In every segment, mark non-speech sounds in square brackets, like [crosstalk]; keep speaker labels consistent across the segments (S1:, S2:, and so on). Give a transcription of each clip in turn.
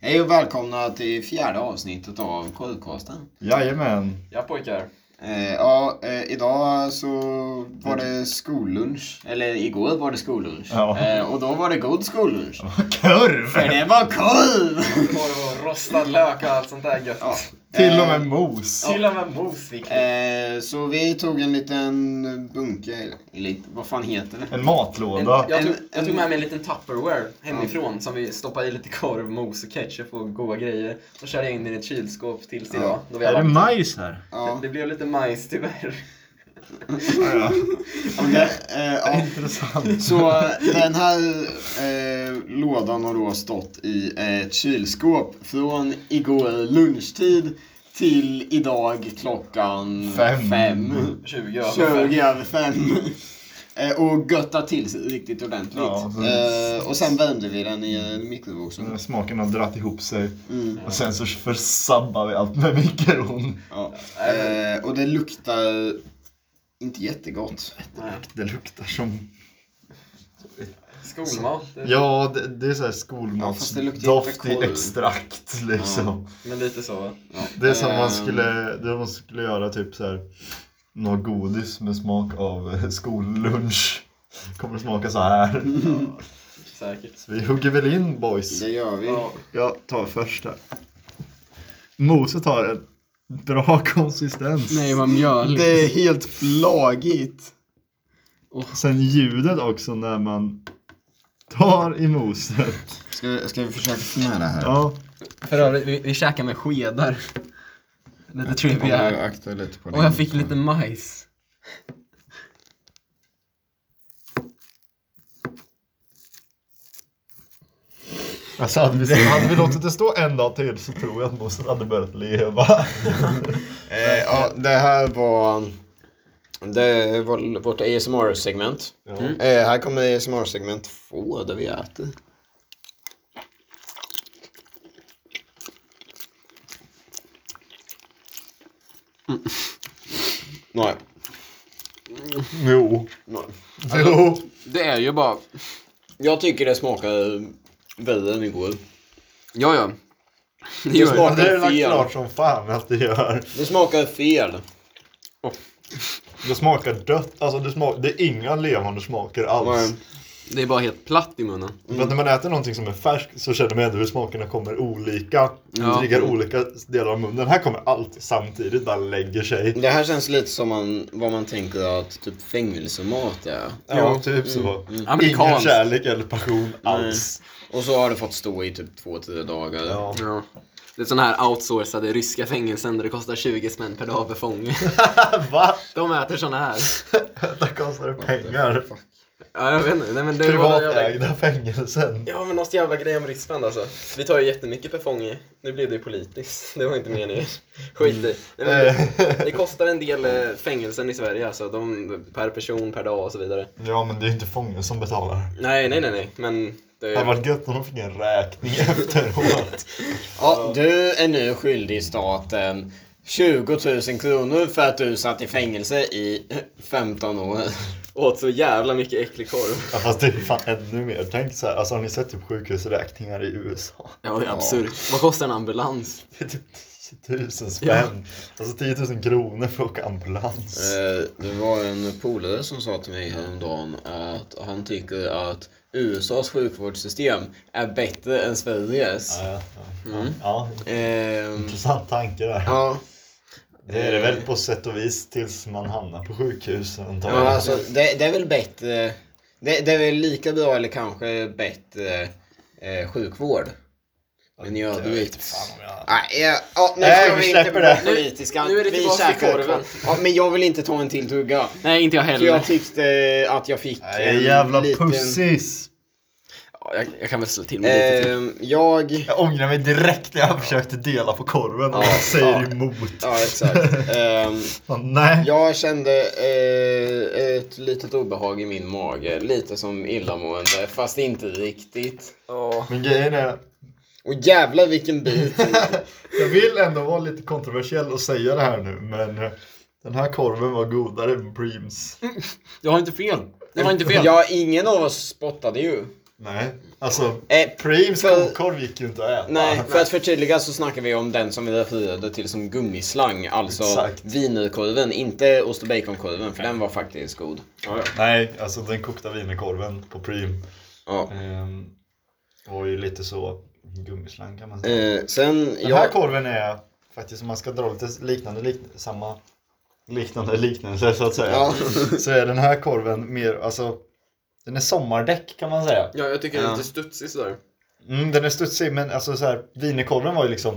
S1: Hej och välkomna till fjärde avsnittet av Kodcasten.
S2: Jajamän. [laughs]
S3: Ja pojkar.
S1: Eh, ja, eh, idag så var det skollunch. Eller igår var det skollunch.
S2: Ja.
S1: Eh, och då var det god skollunch. För
S2: Kurv!
S1: det var kul!
S3: Korv och rostad lök och allt sånt där gött.
S1: Ja.
S2: Till och med mos.
S3: Till och med mos fick vi.
S1: Eh, så vi tog en liten bunke, eller vad fan heter det?
S2: En
S3: En,
S2: matlåda.
S3: jag, tog,
S1: En-
S3: jag tog med mig en liten Tupperware hemifrån som vi stoppade i lite korv, mos och ketchup och goda grejer. Så körde jag in den i ett kylskåp tills
S1: Ja.
S3: idag. Då vi
S4: Är det
S3: alla...
S4: majs här?
S1: Ja,
S3: Det blev lite majs tyvärr.
S2: Ja,
S1: okej. Eh, ja.
S2: [laughs] Intressant.
S1: Så eh, den här eh, lådan har då stått i eh, ett kylskåp från igår lunchtid till idag klockan
S2: Fem.
S1: fem.
S3: 20 över.
S1: 20 över fem. Eh, Och götta till sig riktigt ordentligt.
S2: Ja, Mm. så-
S1: eh, och sen värmde vi den i en mikrovågsugn.
S2: När Smaken har dratt ihop sig.
S1: Mm,
S2: Och sen så försabbar vi allt med mikron.
S1: ja.
S3: Nej, men-
S1: eh, och det luktar inte jättegott.
S3: Nej.
S2: Det luktar som...
S3: Skolmat. det-
S2: Ja, det, det är såhär
S1: Ja, fast det luktar inte
S2: skolmatsdoft i
S1: korv.
S2: extrakt liksom.
S3: Men lite så va?
S2: Det är som
S1: Ehm.
S2: man skulle, det man skulle göra typ såhär. Något godis med smak av eh, skollunch. Kommer smaka så här.
S3: Säkert.
S2: Så vi hugger väl in boys.
S1: Mm. Eh, Det gör vi.
S3: Ja.
S2: Jag tar först här. Moset har en bra konsistens.
S4: Nej, vad mjöligt.
S1: Det är helt flagigt.
S2: Sen ljudet också när man tar i moset.
S1: Ska, ska vi försöka få med det här?
S2: Ja,
S4: För övrigt, vi, vi käkar med skedar. Lite trivia.
S1: akta lite på
S4: Och jag fick lite majs.
S2: alltså hade vi, hade vi låtit det stå en dag till så tror jag att moset hade börjat leva.
S1: Eh, ja, det här var... Det var vårt ASMR-segment.
S2: Ja.
S1: Eh, här kommer ASMR-segment 2 där vi äter. Mm. Nej,
S2: Jo.
S1: nej.
S2: Jo.
S1: Det är ju bara... Jag tycker det smakar värre än igår.
S4: Ja, ja.
S1: Det
S2: Ja, Det är
S1: smakar
S2: väl
S1: fel.
S2: klart som fan att det gör.
S1: Det smakar fel.
S2: Det smakar dött. Alltså det, smak, det är inga levande smaker alls.
S1: Nej.
S4: Det är bara helt platt i munnen.
S2: För att när man äter någonting som är färskt så känner man ändå hur smakerna kommer olika.
S4: Ja.
S2: Ja. Triggar olika delar av munnen. Här kommer allt samtidigt, bara lägger sig.
S1: Det här känns lite som man, vad man tänker att typ fängelsemat är.
S2: Ja, typ så. Ingen
S4: Mm, Amerikanskt.
S2: kärlek eller passion alls.
S1: Och så har det fått stå i typ två, tio dagar.
S2: Ja.
S4: Ja. Det är såna här outsourcade ryska fängelsen där det kostar 20 spänn per dag per fånge.
S2: Va?
S4: [laughs] De äter såna här.
S2: Det kostar pengar.
S4: Ja, jag vet inte. Nej, men det är bara jävla...
S2: Privatägda fängelsen.
S4: Ja, men något jävla grej om Ryssland alltså. Vi tar ju jättemycket per fånge. Nu blev det ju politiskt. [laughs] Det var inte meningen. Skit i. Nej, men det- Det kostar en del eh, fängelsen i Sverige alltså, de, per person, per dag och så vidare.
S2: [laughs] Ja, men det är inte fången som betalar.
S4: Nej, nej, nej, nej, men det
S2: Det hade varit gött om de fick en räkning [laughs] efteråt.
S1: Ja, du är nu skyldig staten 20 000 kronor för att du satt i fängelse i 15 år.
S4: åt så jävla mycket äcklig korv.
S2: Ja, fast det är fan ännu mer. Tänk så här, alltså har ni sett typ sjukhusräkningar i USA?
S4: Ja, det är absurt. Vad kostar en ambulans?
S2: Det är typ 10 000 spänn. Alltså 10 000 kronor för att åka ambulans.
S1: Eh, Det var en polare som sa till mig häromdagen att han tycker att USAs sjukvårdssystem är bättre än Sveriges.
S2: Ja, ja, ja. ja,
S1: Ehm,
S2: intressant tanke där.
S1: mm. Ja,
S2: Det är det väl på sätt och vis tills man hamnar på sjukhus antagligen.
S1: ja alltså, det, det är väl bättre. Det, det är väl lika bra eller kanske bättre eh, sjukvård. Men i
S2: Jag vet
S1: övrigt.
S2: fan om jag-
S1: Nej, ja, ja, nu
S2: Nej,
S1: ska
S2: vi
S1: vi inte
S2: släpper
S1: bli
S2: det.
S1: politiska.
S4: Nu- nu är det
S1: vi
S4: tillbaka till
S1: käkar
S4: korven.
S1: klart. Ja, men jag vill inte ta en till tugga.
S4: Nej, inte jag
S1: För jag tyckte eh, att jag fick
S2: Nej,
S1: en
S2: jävla
S1: liten-
S2: pussis!
S4: Ja, jag, jag kan väl slå till med lite till.
S1: Ehm, jag...
S2: Jag ångrar mig direkt när jag försökte dela på korven och
S1: Ja,
S2: säger
S1: ja.
S2: emot.
S1: Ja,
S2: [laughs]
S4: [laughs]
S1: exakt. Ehm,
S2: Fan, Nej.
S1: jag kände eh, ett litet obehag i min mage. Lite som illamående, fast inte riktigt.
S4: Ja.
S2: Men grejen är,
S1: Och jävlar vilken bit.
S4: [laughs]
S2: jag vill ändå vara lite kontroversiell och säga det här nu, men eh, den här korven var godare än Breams.
S4: Jag har inte fel. Det var inte fel.
S1: Ja, ingen av oss spottade ju.
S2: Nej, alltså
S1: Eh,
S2: Preems
S1: För-
S2: kokorv gick ju inte att äta.
S1: Nej, för att förtydliga så snackar vi om den som vi refererade till som gummislang, alltså
S2: Exakt.
S1: wienerkorven, inte ost och baconkorven, för den var faktiskt god.
S3: Ja, ja.
S2: Nej, alltså den kokta wienerkorven på Preem
S1: Ja.
S2: ehm, var ju lite så gummislang kan man säga.
S1: Eh, sen,
S2: Den här
S1: jag,
S2: korven är faktiskt, om man ska dra lite liknande, lik, samma liknande liknelse så att säga.
S1: Ja.
S2: [laughs] Så är den här korven mer, alltså den är sommardäck kan man säga.
S4: Ja, jag tycker den
S1: Ja.
S4: är lite studsig sådär.
S2: Mm, den är studsig men alltså så här, wienerkorven var ju liksom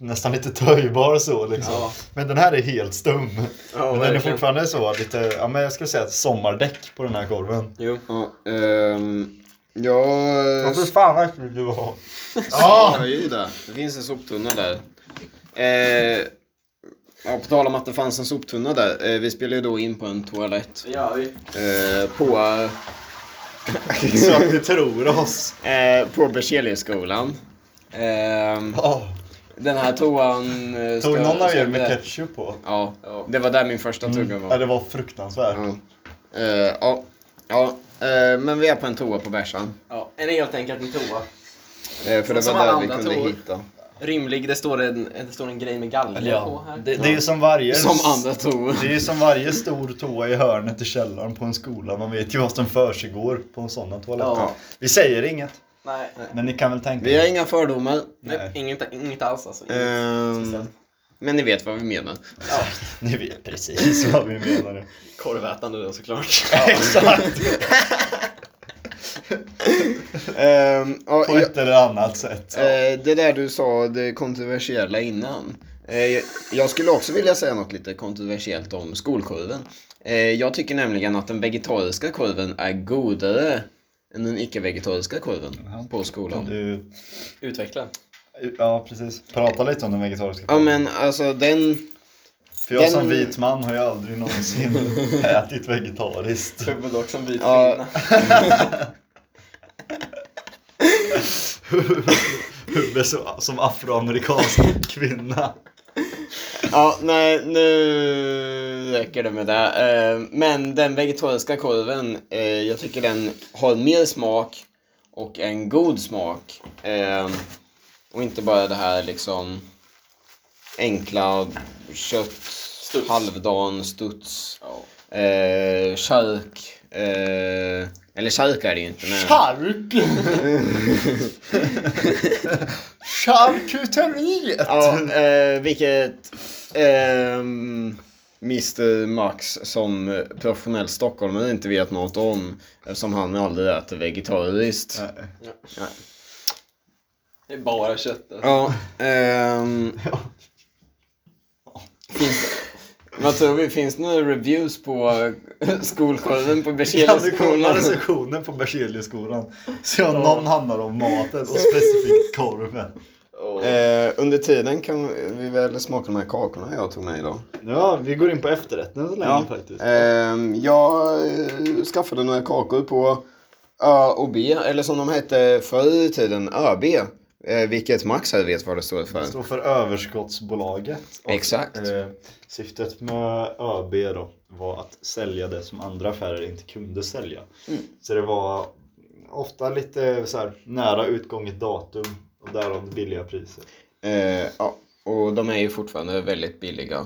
S2: nästan lite töjbar så liksom.
S4: Ja.
S2: Men den här är helt stum.
S4: Ja,
S2: men den är
S4: verkligen.
S2: fortfarande så lite, ja men jag skulle säga ett sommardäck på den här korven.
S4: Jo.
S5: Ja, ehm, jag
S2: fan vad äcklig du var.
S5: Ja,
S2: Ja!
S5: jag är ju det.
S1: det finns en soptunna där. Eh, ja, på tal om att det fanns en soptunna där, eh, vi spelade ju då in på en toalett.
S4: Ja, vi...
S1: Eh, på [laughs]
S2: Så att ni tror oss.
S1: eh, på Berzeliusskolan. Ehm,
S2: Ja.
S1: den här toan... eh,
S2: Tog
S1: ska-
S2: någon av
S1: ska
S2: er
S1: inte-
S2: med ketchup på?
S1: Ja,
S4: Ja.
S1: det var där min första tugga
S2: Mm. Ja,
S1: var.
S2: det var fruktansvärt.
S1: Ja. Eh, ja, ja. Eh, men vi är på en toa på Bärsan.
S4: Ja, en är helt enkelt en toa.
S1: Eh, för det
S4: Som
S1: var
S4: alla
S1: där vi
S4: andra
S1: kunde
S4: toor.
S1: hitta.
S4: Rymlig, det står en, det står en grej med galler på
S2: Ja.
S4: här.
S2: Det, det är ju som varje...
S1: Som andra toor.
S2: Det är ju som varje stor toa i hörnet i källaren på en skola. Man vet ju vad som försiggår på en sån toalett.
S4: Ja.
S2: Vi säger inget,
S4: Nej,
S2: men ni kan väl tänka
S1: Vi har inga fördomar.
S2: Nej.
S4: nej. Inget, inget alls alltså. Inget
S1: Ehm,
S4: speciellt.
S1: men ni vet vad vi menar.
S2: Ni vet precis [laughs] vad vi menar.
S4: Korvätande då såklart.
S2: Exakt!
S1: Ehm, ja,
S2: På ett eller annat sätt.
S1: Eh, det där du sa, det kontroversiella innan. Eh, jag skulle också vilja säga något lite kontroversiellt om skolkorven. Eh, jag tycker nämligen att den vegetariska korven är godare än den icke-vegetariska korven
S2: Ja.
S1: på skolan.
S2: Du,
S4: Utveckla.
S2: ja precis. Prata lite om den vegetariska
S1: Ja men alltså den...
S2: För jag
S1: den-
S2: som vit man har ju
S1: [laughs]
S2: aldrig någonsin ätit vegetariskt.
S4: Dubbel dock som vit
S1: Ja.
S4: kvinna.
S2: Hubbe så- som afroamerikansk kvinna.
S1: [laughs] Ja, nej, nu räcker det med det. Eh, Men den vegetariska korven, eh, jag tycker den har mer smak och en god smak. Eh, Och inte bara det här liksom enkla kött,
S4: Studs.
S1: halvdan, studs,
S4: Ja.
S1: eh, chark. Eh, eller chark är det ju inte. Men...
S2: Chark! Charkuteriet!
S1: Ja, eh, vilket ehm, Mr Max som professionell stockholmare inte vet något om eftersom han aldrig äter vegetariskt. Ja,
S2: Nej.
S4: Det är bara kött alltså.
S1: ehm,
S2: Ja.
S1: finns, vad tror vi, finns det några reviews på skolkorven på
S2: Kan du kolla
S1: Berzelskolan?
S2: recensionen på Berzeliusskolan? Se om någon handlar om maten och specifikt korven.
S1: Eh, under tiden kan vi väl smaka de här kakorna jag tog med idag.
S2: Ja, vi går in på efterrätten så länge faktiskt.
S1: Ehm, jag eh, skaffade några kakor på Ö och B, eller som de hette förr i tiden, ÖB. Eh, vilket Max här vet vad det står för.
S2: Det står för överskottsbolaget. Och,
S1: Exakt.
S2: Eh, syftet med ÖB då var att sälja det som andra affärer inte kunde sälja.
S1: Mm.
S2: Så det var ofta lite så här, nära utgånget datum och därav det billiga priser.
S1: Eh, ja, och de är ju fortfarande väldigt billiga.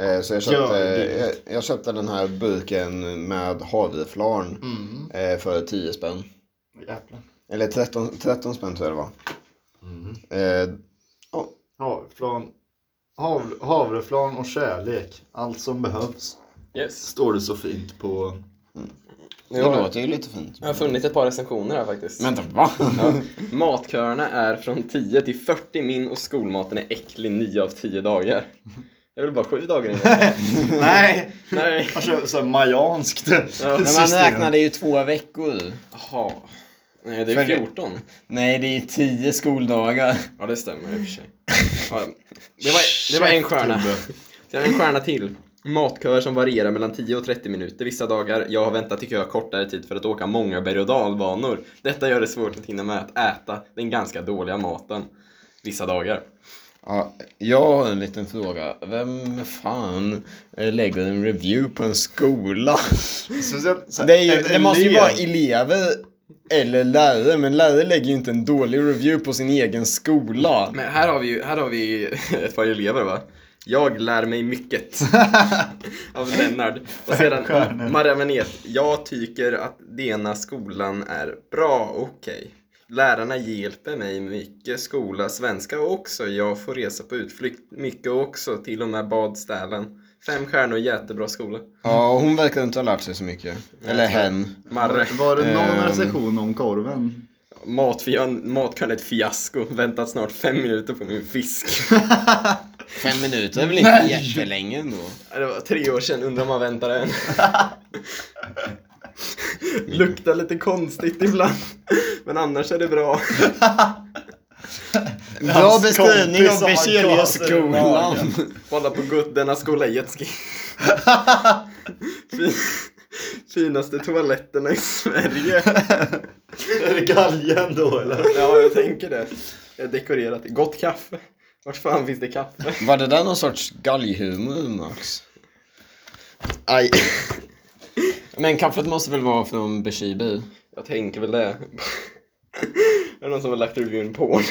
S1: Eh, så jag
S2: Ja,
S1: köpte, eh,
S2: det är billigt.
S1: jag, jag köpte den här burken med havreflarn
S2: Mm.
S1: eh, för 10 spänn.
S2: Jävlar.
S1: Eller 13, 13 spänn tror jag det var.
S2: Mm.
S1: Eh,
S2: Havreflarn. Hav, havreflarn och kärlek. Allt som behövs.
S4: Yes.
S2: Står det så
S1: [laughs]
S2: fint på...
S1: det
S4: Ja.
S1: låter ju lite fint.
S4: Jag har funnit ett par recensioner här faktiskt.
S1: Vänta,
S2: [laughs]
S1: va?
S4: Ja. Matköerna är från 10 till 40 min och skolmaten är äcklig 9 av 10 dagar. Det är väl bara 7 dagar innan.
S2: Nej!
S4: Nej.
S2: Man kör såhär majanskt [laughs]
S4: Ja,
S1: Men man räknade ju två veckor.
S4: Jaha. Nej, det
S1: Följ-
S4: är 14.
S1: Nej, det är 10 skoldagar.
S4: Ja, det stämmer i
S1: [laughs]
S4: och för sig. Ja, det, var, det var en stjärna. Sen en stjärna till. Matköer som varierar mellan 10 och 30 minuter vissa dagar. Jag har väntat i kö kortare tid för att åka många berg och dalbanor. Detta gör det svårt att hinna med att äta den ganska dåliga maten vissa dagar.
S1: Ja, jag har en liten fråga. Vem fan eh, lägger en review på en skola?
S2: Speciellt, så här,
S1: Det, är ju,
S2: en
S1: det måste ju
S2: elev.
S1: vara elever Eller lärare, men lärare lägger ju inte en dålig review på sin egen
S2: [laughs]
S1: skola.
S4: Men här har vi ju, här har vi ju [laughs] ett par elever va? Jag lär mig mycket. av Lennart.
S2: [laughs]
S4: Och sedan Maria Menet. Jag tycker att denna skolan är bra, okej. Lärarna hjälper mig mycket, skola, svenska också. Jag får resa på utflykt mycket också, till och med badställen. Fem stjärnor, jättebra skola.
S1: Ja, hon verkar inte ha lärt sig så mycket. Eller hen.
S4: Marre.
S2: Var det någon
S1: Ehm.
S2: recension om korven?
S4: Matfjön, matkön är ett fiasko. Väntat snart fem minuter på min fisk.
S2: [laughs]
S1: Fem minuter är väl inte jättelänge ändå?
S4: Ja, Det var tre år sedan, undrar om man
S2: [laughs]
S4: väntar än. Luktar lite konstigt ibland, men annars är det bra.
S1: Bra
S2: Hans
S1: beskrivning
S2: kompis
S1: av
S2: som har gaser i
S1: Berzeliusskolan.
S2: magen.
S4: Kolla på gutterna skola [laughs] jetski. Fin- Finaste toaletterna i Sverige.
S2: Är det galgen då eller?
S4: Ja, jag tänker det. Jag har dekorerat. Gott kaffe. Vart fan finns det kaffe?
S1: Var det där någon sorts galghumor, Max? Aj. Men kaffet måste väl vara från Beshibi?
S4: Jag tänker väl det. Är det någon som har lagt revyn på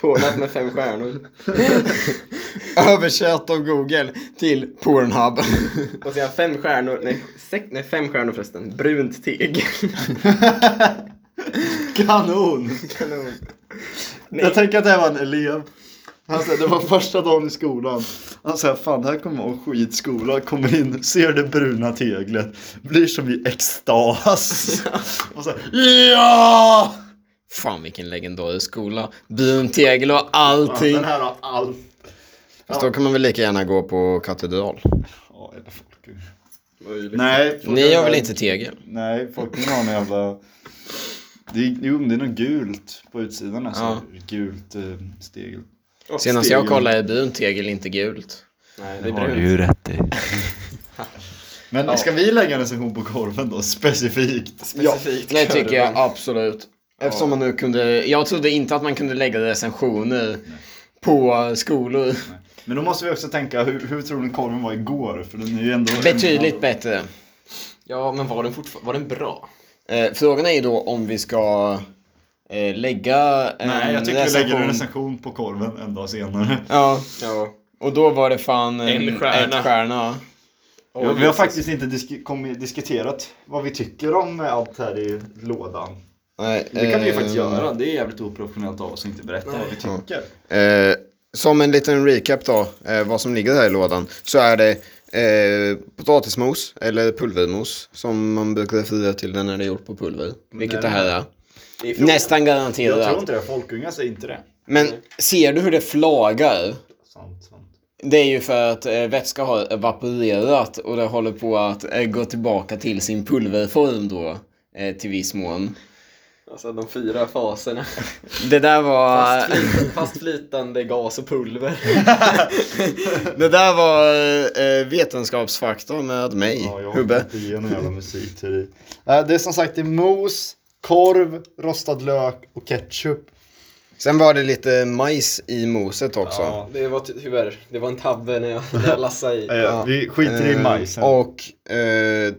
S4: Pornat med fem stjärnor.
S1: [laughs] Översatt av Google till Pornhub.
S4: Och sen fem stjärnor, nej, sex, nej fem stjärnor förresten. Brunt tegel.
S2: Kanon!
S4: Kanon.
S2: Jag tänker att det här var en elev. Han säger, det var första dagen i skolan. Han säger, fan det här kommer vara en skitskola. Kommer in, ser det bruna teglet. Blir som i [laughs] extas. Och så här, ja!
S1: Fan vilken legendarisk skola. Brun tegel och allting.
S2: Den här har allt.
S1: Fast då kan man väl lika gärna gå på katedral.
S2: Ja, eller folk.
S4: Möjligt.
S2: Nej. folk
S1: Ni
S2: har
S1: har väl
S2: en-
S1: inte tegel?
S2: Nej, folk har en jävla... Det är, jo, men det är något gult på utsidan alltså. Gult eh, stegel.
S4: Och
S1: Senast
S4: stil.
S1: jag kollade är brunt tegel inte gult.
S4: Nej, det är brunt.
S2: ju rätt i. [laughs] Men ska vi lägga en recension på korven då, specifikt?
S4: Specifikt.
S1: Det tycker jag absolut. Eftersom man nu kunde, jag trodde inte att man kunde lägga recensioner på skolor.
S2: Men då måste vi också tänka, hur, hur tror ni korven var igår? För den är ju ändå...
S1: Betydligt bättre.
S4: Ja, men var den, fortfar- var den bra?
S1: Eh, frågan är ju då om vi ska eh, lägga en
S2: Nej, jag tycker vi
S1: recension.
S2: lägger en recension på korven en dag senare.
S1: Ja,
S4: Ja.
S1: och då var det fan en,
S4: En stjärna.
S1: ett stjärna.
S2: Ja, vi har faktiskt inte disk- kommit, diskuterat vad vi tycker om allt här i lådan.
S1: Nej,
S2: Det kan vi ju
S1: eh,
S2: faktiskt göra, det är jävligt oprofessionellt av oss att inte berätta vad vi tycker.
S1: Eh, som en liten recap då, eh, vad som ligger här i lådan, så är det eh, potatismos eller pulvermos som man brukar referera till den när det är gjort på pulver. Vilket det här är.
S4: Det är frågan.
S1: Nästan
S2: Jag tror
S1: garanterat.
S2: inte det, folkungar säger inte det.
S1: Men ser du hur det flagar?
S2: Sant, sant.
S1: Det är ju för att eh, vätska har evaporerat och det håller på att eh, gå tillbaka till sin pulverform då. eh, Till viss mån.
S4: Alltså de fyra faserna.
S1: Det där var...
S4: Fast, flyt- fast flytande gas och pulver.
S1: Det där var eh, vetenskapsfakta med mig,
S2: Ja, jag
S1: Hubbe.
S2: Hubbe. Det är någon jävla musikteori. Eh, Det är som sagt det är mos, korv, rostad lök och ketchup.
S1: Sen var det lite majs i moset också.
S2: Ja.
S4: Det var ty- tyvärr, det var en tabbe när jag, när jag lassade i.
S2: Eh, Vi skiter i
S1: Eh,
S2: majsen.
S1: Och eh,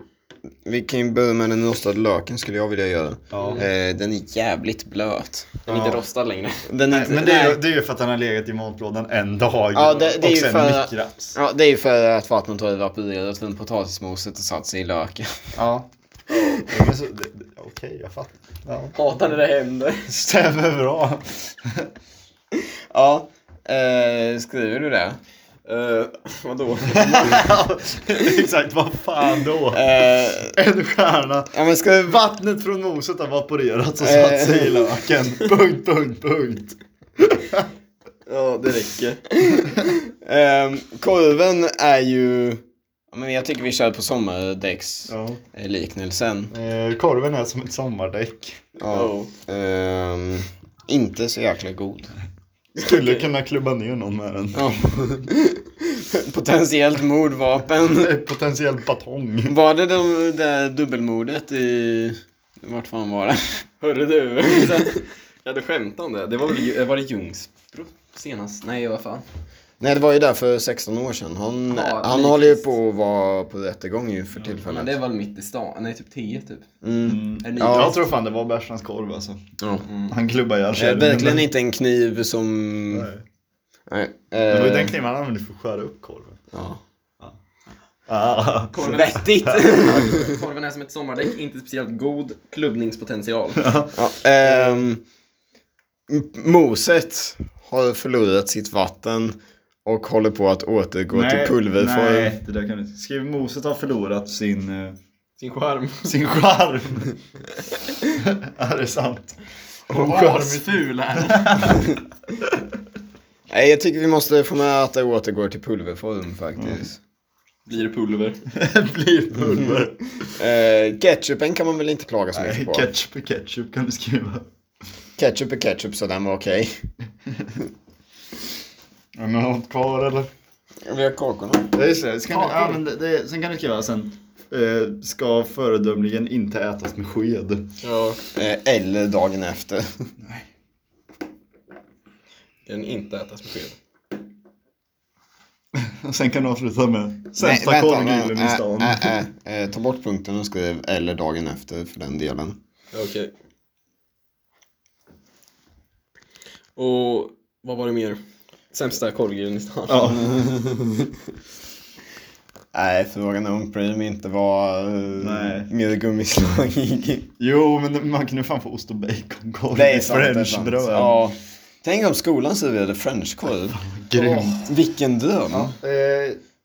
S1: vi kan ju börja med den rostade löken skulle jag vilja göra.
S2: Ja.
S1: Eh, den är jävligt blöt.
S4: Den är inte rostad längre.
S1: Den är
S2: Nej,
S1: inte-
S2: men det är, ju,
S1: nej.
S2: det är ju för att den har legat i matlådan en dag
S1: Ja, det- det är
S2: och
S1: ju
S2: sen
S1: för-
S2: mikrats.
S1: Ja, det är ju för att vattnet har evaporerat från potatismoset och satt sig i löken.
S2: [laughs] Ja. Ja, men så- det- det- Okej, jag fattar. Ja.
S4: Hatar när det händer.
S1: [laughs]
S2: Stämmer bra.
S1: Ja, eh, skriver du det? Eh,
S4: Uh, vadå?
S2: Exakt, vad fan då?
S1: Eh,
S2: En stjärna.
S1: ja, men ska du...
S2: Vattnet från moset har vaporerat och satt sig i [laughs] löken. Punkt, punkt, punkt.
S4: Ja, det räcker.
S1: Ehm, korven är ju... Ja, Men jag tycker vi kör på sommardäcksliknelsen.
S2: Ja.
S1: eh, liknelsen.
S2: Eh, Korven är som ett sommardäck.
S1: Ja. Ehm, inte så jäkla god.
S2: Skulle kunna klubba ner någon med den.
S1: Ja. [laughs] Potentiellt mordvapen.
S2: Potentiell batong.
S1: Var det de, det där dubbelmordet i... Vart fan var det?
S3: [laughs]
S4: Hörru du. Jag hade skämtat om det. Det var väl Ju- var det Ljungsbro senast? Nej, vad fan.
S1: Nej, det var ju där för 16 år sedan. Han,
S3: Ja,
S1: han
S3: likvis.
S1: håller ju på att vara på rättegång ju för tillfället.
S3: Men det är väl mitt i stan? Nej, typ 10 typ.
S1: mm.
S2: Mm.
S3: Är det Mm.
S1: Ja.
S2: Jag tror fan det var Bärsans korv alltså.
S1: ja.
S2: Han klubbade ihjäl
S1: Eh,
S2: sig.
S1: verkligen inte en kniv som... Nej.
S2: Nej.
S1: eh,
S2: Det var ju den kniven han använde för att skära upp korven.
S1: ja.
S2: Ah.
S3: Korven är,
S4: [laughs]
S1: Vettigt!
S3: korven är som ett sommardäck, inte speciellt god klubbningspotential.
S1: ja, ehm, M- moset har förlorat sitt vatten och håller på att återgå till pulverform.
S2: Nej, det där kan du inte. Skriv moset har förlorat sin, eh,
S4: Sin charm.
S2: sin charm. [laughs] ja, det är sant. Och charm.
S3: Asful här.
S1: Nej, jag tycker vi måste få med att det återgår till pulverform faktiskt.
S3: Blir det pulver?
S2: [laughs] blir pulver.
S1: Eh, ketchupen kan man väl inte klaga så mycket
S2: Nej,
S1: på?
S2: ketchup är ketchup kan du skriva.
S1: ketchup är ketchup så den var okej.
S2: Har ni något kvar eller?
S1: Vi har kakorna.
S2: Ja, just det. Sen kan, ja, men det, det, sen kan du skriva sen. Eh, ska föredömligen inte ätas med sked.
S4: Ja.
S1: Eh, eller dagen efter.
S4: Den inte ätas med sked.
S2: Och sen kan du avsluta med sämsta
S1: Nej, vänta,
S2: korvgrillen i
S1: nej,
S2: stan.
S1: nej, nej, nej. Eh, ta bort punkten och skriv eller dagen efter för den delen.
S4: Okej. Och vad var det mer? Sämsta korvgrillen i stan.
S2: Ja.
S1: Nej, frågan är om Preem inte var
S2: Nej.
S1: eh, mer gummislangig.
S2: Jo, men man kunde fan få ost och baconkorv.
S1: Det är
S2: i
S1: sant, det är sant.
S2: Frenchbröd.
S1: Ja. Tänk om skolan serverade [laughs] frenchkorv.
S2: Grymt.
S1: Vilken dröm.
S2: Eh,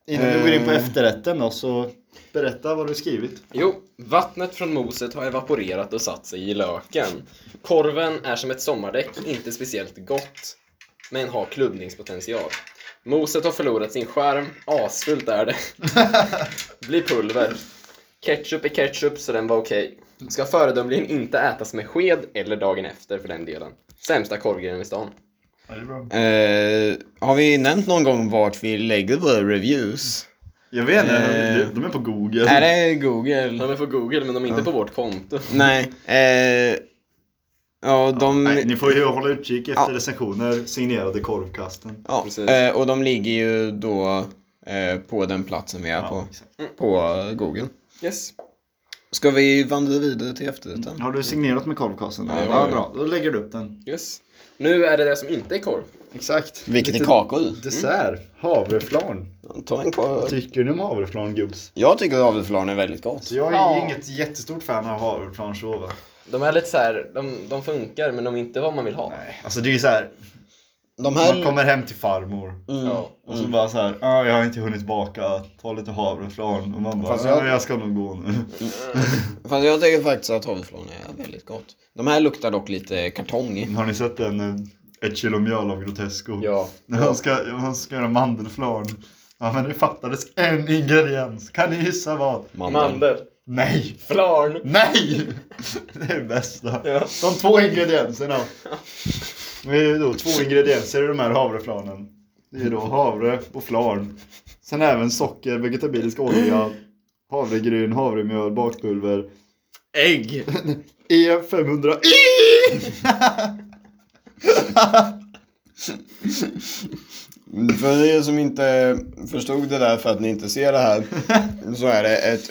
S2: innan
S1: Eh.
S2: vi går in på efterrätten då, så berätta vad du skrivit.
S4: Jo, vattnet från moset har evaporerat och satt sig i löken. Korven är som ett sommardäck, inte speciellt gott, men har klubbningspotential. Moset har förlorat sin skärm, asfult är det. Blir pulver. Ketchup är ketchup, så den var okej. Ska föredömligen inte ätas med sked eller dagen efter för den delen. Sämsta korvgrenen i stan.
S1: Eh, har vi nämnt någon gång vart vi lägger våra reviews?
S2: Jag vet inte,
S1: Eh.
S2: de är på Google.
S1: Är det Google?
S4: De är på Google, men de är inte på vårt konto.
S1: Nej. Eh, ja, de...
S2: Nej, ni får ju hålla utkik efter
S1: Ja.
S2: recensioner signerade korvkasten.
S1: Ja,
S4: Precis.
S1: eh, och de ligger ju då eh, på den platsen vi är på,
S2: exakt.
S1: på Google.
S4: Yes.
S1: Ska vi vandra vidare till efterrätten?
S2: Har du signerat med korvkasten?
S4: Ja,
S2: Ja,
S4: ja, ja.
S2: bra. Då lägger du upp den.
S4: Yes. Nu är det det som inte är korv.
S2: Exakt.
S1: Vilket är kakor.
S2: Dessert. Havreflarn.
S1: Ta en kvar.
S2: Tycker ni om havreflarn gubbs?
S1: Jag tycker att avelflarn är väldigt gott.
S2: Så jag är
S4: Ja.
S2: inget jättestort fan av havreflarn så va?
S4: De är lite så här, de, de funkar, men de är inte vad man vill ha.
S2: Nej. Alltså det är ju så här.
S1: De
S2: man
S1: här...
S2: kommer hem till farmor.
S1: Mm.
S4: Ja.
S2: Och så bara så här, ah, jag har inte hunnit baka, ta lite havreflarn. Och man bara,
S1: Fast jag-
S2: "Ah, jag ska nog gå nu. [laughs]
S1: Fast jag tycker faktiskt att avelflarn är väldigt gott. De här luktar dock lite kartong i.
S2: Har ni sett den? eh, Ett kilo mjöl av Grotesco.
S4: Ja.
S2: När han ska, han ska göra mandelflarn. Ja men det fattades en ingrediens. Kan ni gissa vad?
S4: Mandel.
S2: Nej!
S4: Flarn.
S2: Nej! Det är det bästa.
S4: Ja.
S2: De två ingredienserna. Det är då två ingredienser i de här havreflarnen. Det är då havre och flarn. Sen även socker, vegetabilisk olja, havregryn, havremjöl, bakpulver. [laughs] E
S4: Ägg.
S2: E500.
S1: Mm, För er som inte förstod det där för att ni inte ser det här så är det ett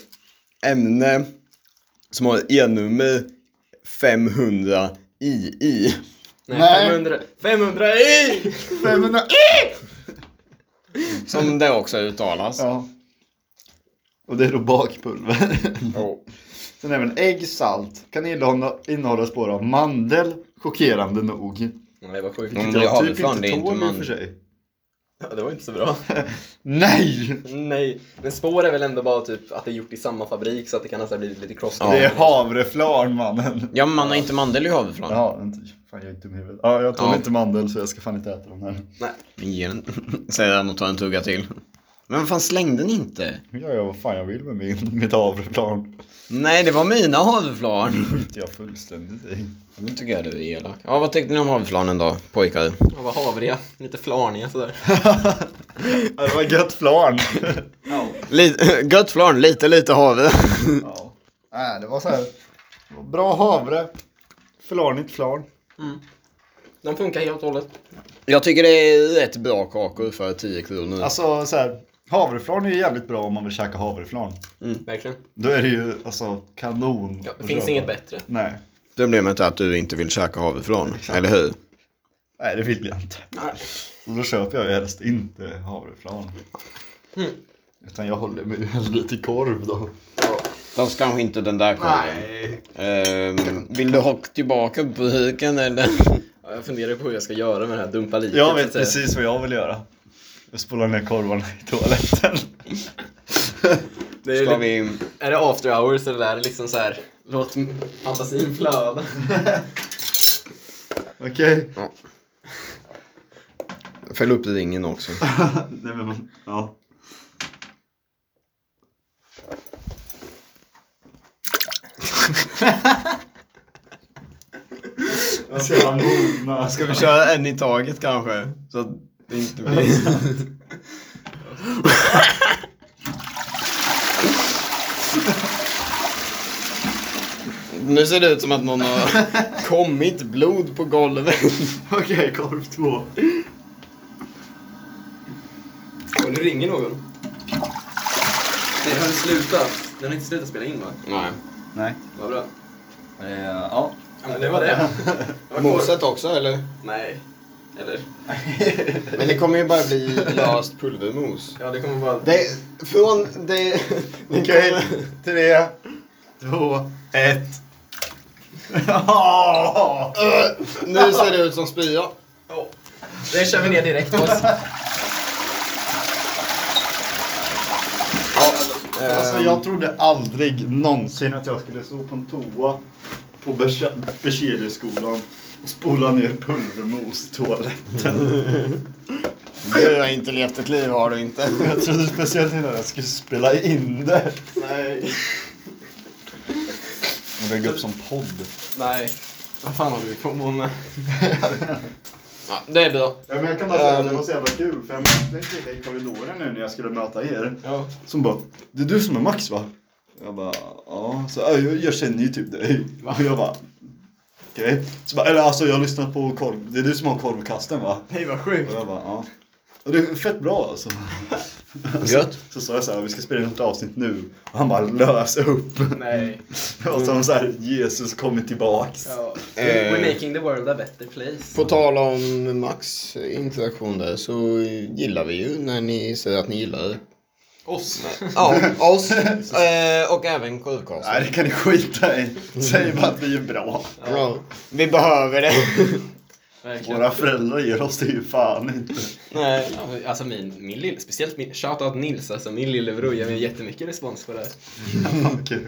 S1: ämne som har E-nummer 500 II.
S4: Nej,
S2: Nej.
S4: 500. 500 i!
S2: 500.
S1: Som det också uttalas.
S2: Ja. Och det är då bakpulver.
S1: Och
S2: Sen även ägg, salt kan innehålla, innehålla spår av mandel, chockerande nog.
S4: Nej, vad sjukt.
S1: Mm.
S2: Vilket
S1: det
S2: jag
S1: har vi
S2: typ
S1: fan,
S2: inte
S1: det är inte
S2: tål i och
S1: mandel.
S2: för sig.
S4: Ja, det var inte så bra.
S2: Nej!
S4: Nej, men spår är väl ändå bara typ att det är gjort i samma fabrik så att det kan ha så här blivit lite krossat.
S1: Ja.
S2: Det är havreflarn mannen.
S1: Ja, men man har inte mandel i havreflarn.
S2: Ja, vänta. Fan jag är dum i huvudet. Ja, jag tål
S1: Ja.
S2: inte mandel så jag ska fan inte äta de här.
S1: Ge den. Säger han och tar en tugga till. Men vad fan, släng den inte.
S2: Nu gör jag vad fan jag vill med min, mitt havreflarn.
S1: Nej, det var mina havreflarn.
S2: Skiter jag fullständigt i.
S1: Nu tycker jag du är elak. Ja, vad tyckte ni om havreflarnen då, pojkar?
S4: De var havriga, lite flarniga sådär.
S2: Ja, Det var gött flarn.
S1: Lite, [laughs] gött flarn, lite, lite [laughs] havre.
S2: ja. Nej, Äh, det var så här. Det var Bra havre. Flarnigt flarn.
S4: De funkar helt och hållet.
S1: Jag tycker det är rätt bra kakor för 10 kronor.
S2: Alltså så här, havreflarn är ju jävligt bra om man vill käka havreflarn.
S4: Verkligen.
S2: Då är det ju alltså kanon.
S4: Ja,
S2: att
S4: det finns
S2: köpa.
S4: inget bättre.
S2: Nej.
S1: Problemet är att du inte vill käka havreflarn, eller hur?
S2: Nej, det vill jag inte. Och då köper jag ju helst inte havreflarn.
S1: Mm.
S2: Utan jag håller mig ju hellre till korv då.
S1: Fast kanske inte den där korven. Ehm, vill du ha tillbaka burken [laughs] eller?
S4: Ja, jag funderar på hur jag ska göra med det här dumpa liket.
S2: Jag
S4: så
S2: vet
S4: att säga.
S2: precis vad jag vill göra. Jag spolar ner korvarna
S1: [laughs]
S2: i toaletten.
S4: Det är,
S1: Ska
S4: lite-
S1: vi...
S4: är det after hours eller är det liksom så här låt fantasin flöda?
S2: Okej.
S1: Fäll upp ringen också.
S2: [laughs] Nej men man,
S1: [laughs]
S2: ja. Jag ser han mogna.
S1: Ska vi köra en i taget kanske? Så att det inte blir... nu ser det ut som att någon har kommit blod på golvet.
S2: Okej, korv två.
S4: Och nu ringer någon. Nej, har den slutat? Den har inte slutat spela in va?
S1: Nej.
S2: Nej. Eh,
S4: Vad bra.
S2: ja.
S4: Ja, men det var det. Det var kort.
S1: Moset också eller?
S4: Nej. Eller?
S1: Men det kommer ju bara bli löst pulvermos.
S4: Ja, det kommer bara...
S1: Det, från det...
S2: Okej, tre, två, ett. [laughs]
S1: Nu ser det ut som spya.
S4: Ja. Det kör vi ner direkt på oss.
S2: Alltså jag trodde aldrig någonsin att jag skulle stå på en toa på Berse- Berzeliusskolan och spola ner pulvermos i toaletten.
S1: Du har inte levt ett liv har du inte.
S2: Jag trodde speciellt innan jag skulle spela in det. Nej. Och lägga upp som podd.
S4: Nej. Vad fan håller vi på [laughs] med?
S1: Ja, det är bra.
S2: Ja, men jag kan bara säga
S4: Ehm.
S2: att det var så jävla kul för jag mötte en kille i korridoren nu när jag skulle möta er.
S4: Ja.
S2: Som bara, det är du som är Max va? Jag bara, ja. Så, "Ja, jag, jag känner ju typ dig. Och jag bara, okej. Så bara, eller alltså jag lyssnar på korv, det är du som har korvkasten va?
S4: Nej, vad sjukt.
S2: Och jag bara, ja. Och det är fett bra alltså.
S1: Gött.
S2: Så sa jag så här, vi ska spela in ett avsnitt nu. Och han bara, lös upp.
S4: Nej.
S2: Och som så här, Jesus kommer tillbaks.
S4: Ja.
S1: Eh.
S4: We're making the world a better place.
S1: På tal om Max interaktion där så gillar vi ju när ni säger att ni gillar
S4: Oss.
S1: Ja, oss [laughs] eh, och även korvkasten.
S2: Nej det kan ni skita i. Säg bara att vi är bra.
S1: Bra. Vi behöver det.
S2: Våra föräldrar ger oss det ju fan inte.
S1: Nej.
S4: Ja, Alltså min, min lille, speciellt min, shoutout Nils alltså, min lillebror ger mig jättemycket respons på det här.
S2: Fan, kul.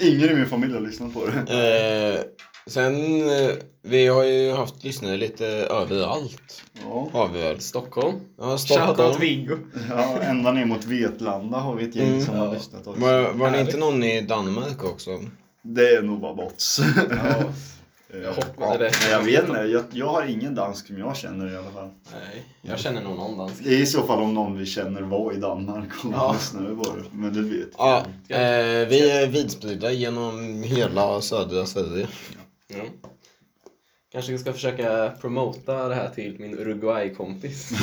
S2: Ingen i min familj har lyssnat på det.
S1: Eh, sen, eh, vi har ju haft lyssnare lite överallt.
S2: Ja,
S1: Har vi väl?
S4: Stockholm.
S1: Ja, Stockholm.
S4: Shoutout Viggo.
S2: ja ända ner mot Vetlanda har vi ett
S4: Mm.
S2: gäng som har lyssnat också.
S1: Var, var det inte någon i Danmark också?
S2: Det är nog bara bots.
S4: Ja.
S2: Eh,
S4: jag hoppade det.
S2: men jag vet inte, jag, jag har ingen dansk som jag känner i alla fall.
S4: Nej, jag känner nog någon dansk.
S2: I så fall om någon vi känner var i Danmark och
S4: Ja.
S2: lyssnade på det. Men det vet jag.
S1: Ja, eh, vi är vidspridda genom hela södra Sverige.
S4: Ja. Kanske ska försöka promota det här till min Uruguay-kompis.
S2: [laughs]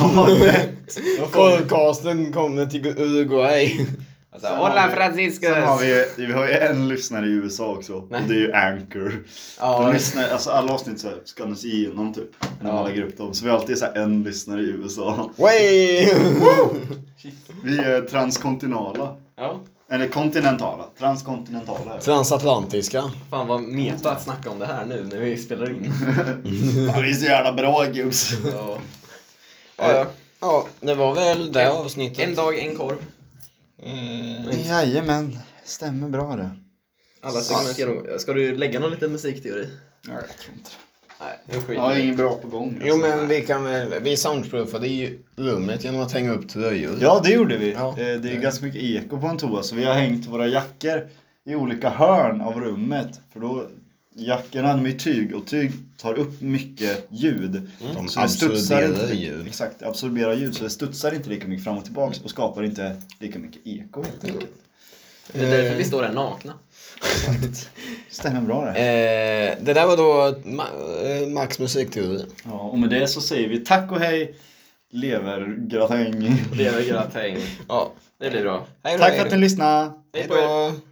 S1: Korvkasten kommer till Uruguay.
S4: Alltså,
S2: Sen
S4: Hola
S2: har vi-
S4: Franciscus!
S2: Sen har vi, vi har ju en lyssnare i USA också.
S4: Nej.
S2: Och det är ju Anchor.
S4: Ja,
S2: De
S4: det-
S2: lyssnar, alltså alla avsnitt så här skannas igenom typ. När man
S4: Ja.
S2: lägger upp dem. Så vi har alltid så här en lyssnare i USA.
S1: Way!
S2: Vi är transkontinentala.
S4: Ja,
S2: Eller kontinentala. Transkontinentala.
S1: Transatlantiska.
S4: fan vad meta att snacka om det här nu när vi spelar in.
S2: [laughs] Ja, vi är så jävla bra gubbs.
S4: Ja. Ja, ja.
S1: Ja, det var väl det avsnittet.
S4: En dag, en korv.
S2: Mm. Jajamän, stämmer bra det.
S4: Alla segment genom... Ska du lägga någon liten musikteori? Nej, det skiter
S2: Jag har
S4: vi i.
S2: ingen bra på gång. alltså.
S1: Jo men vi kan väl, vi soundproofade ju rummet genom att hänga upp tröjor.
S2: Ja, det gjorde vi.
S1: Ja.
S2: Eh, Det är ju ganska mycket eko på en toa så vi har hängt våra jackor i olika hörn av rummet. För då, jackorna de är ju tyg och tyg tar upp mycket ljud.
S1: De
S2: det Mm. studsar
S1: absorberar
S2: inte-
S1: ljud.
S2: Exakt, absorberar ljud så det studsar inte lika mycket fram och tillbaks och skapar inte lika mycket eko helt enkelt.
S4: Det är därför vi står här nakna.
S2: Stämmer bra det.
S1: Eh, det där var då Ma- eh, Max musikteori.
S2: Ja, och med det så säger vi tack och hej levergratäng.
S4: Levergratäng.
S1: Ja.
S4: Det blir bra.
S1: Hej då,
S2: Tack
S1: hej
S2: för
S1: då.
S2: att ni lyssnade.
S4: Hej
S1: Hej
S4: på er.
S1: då.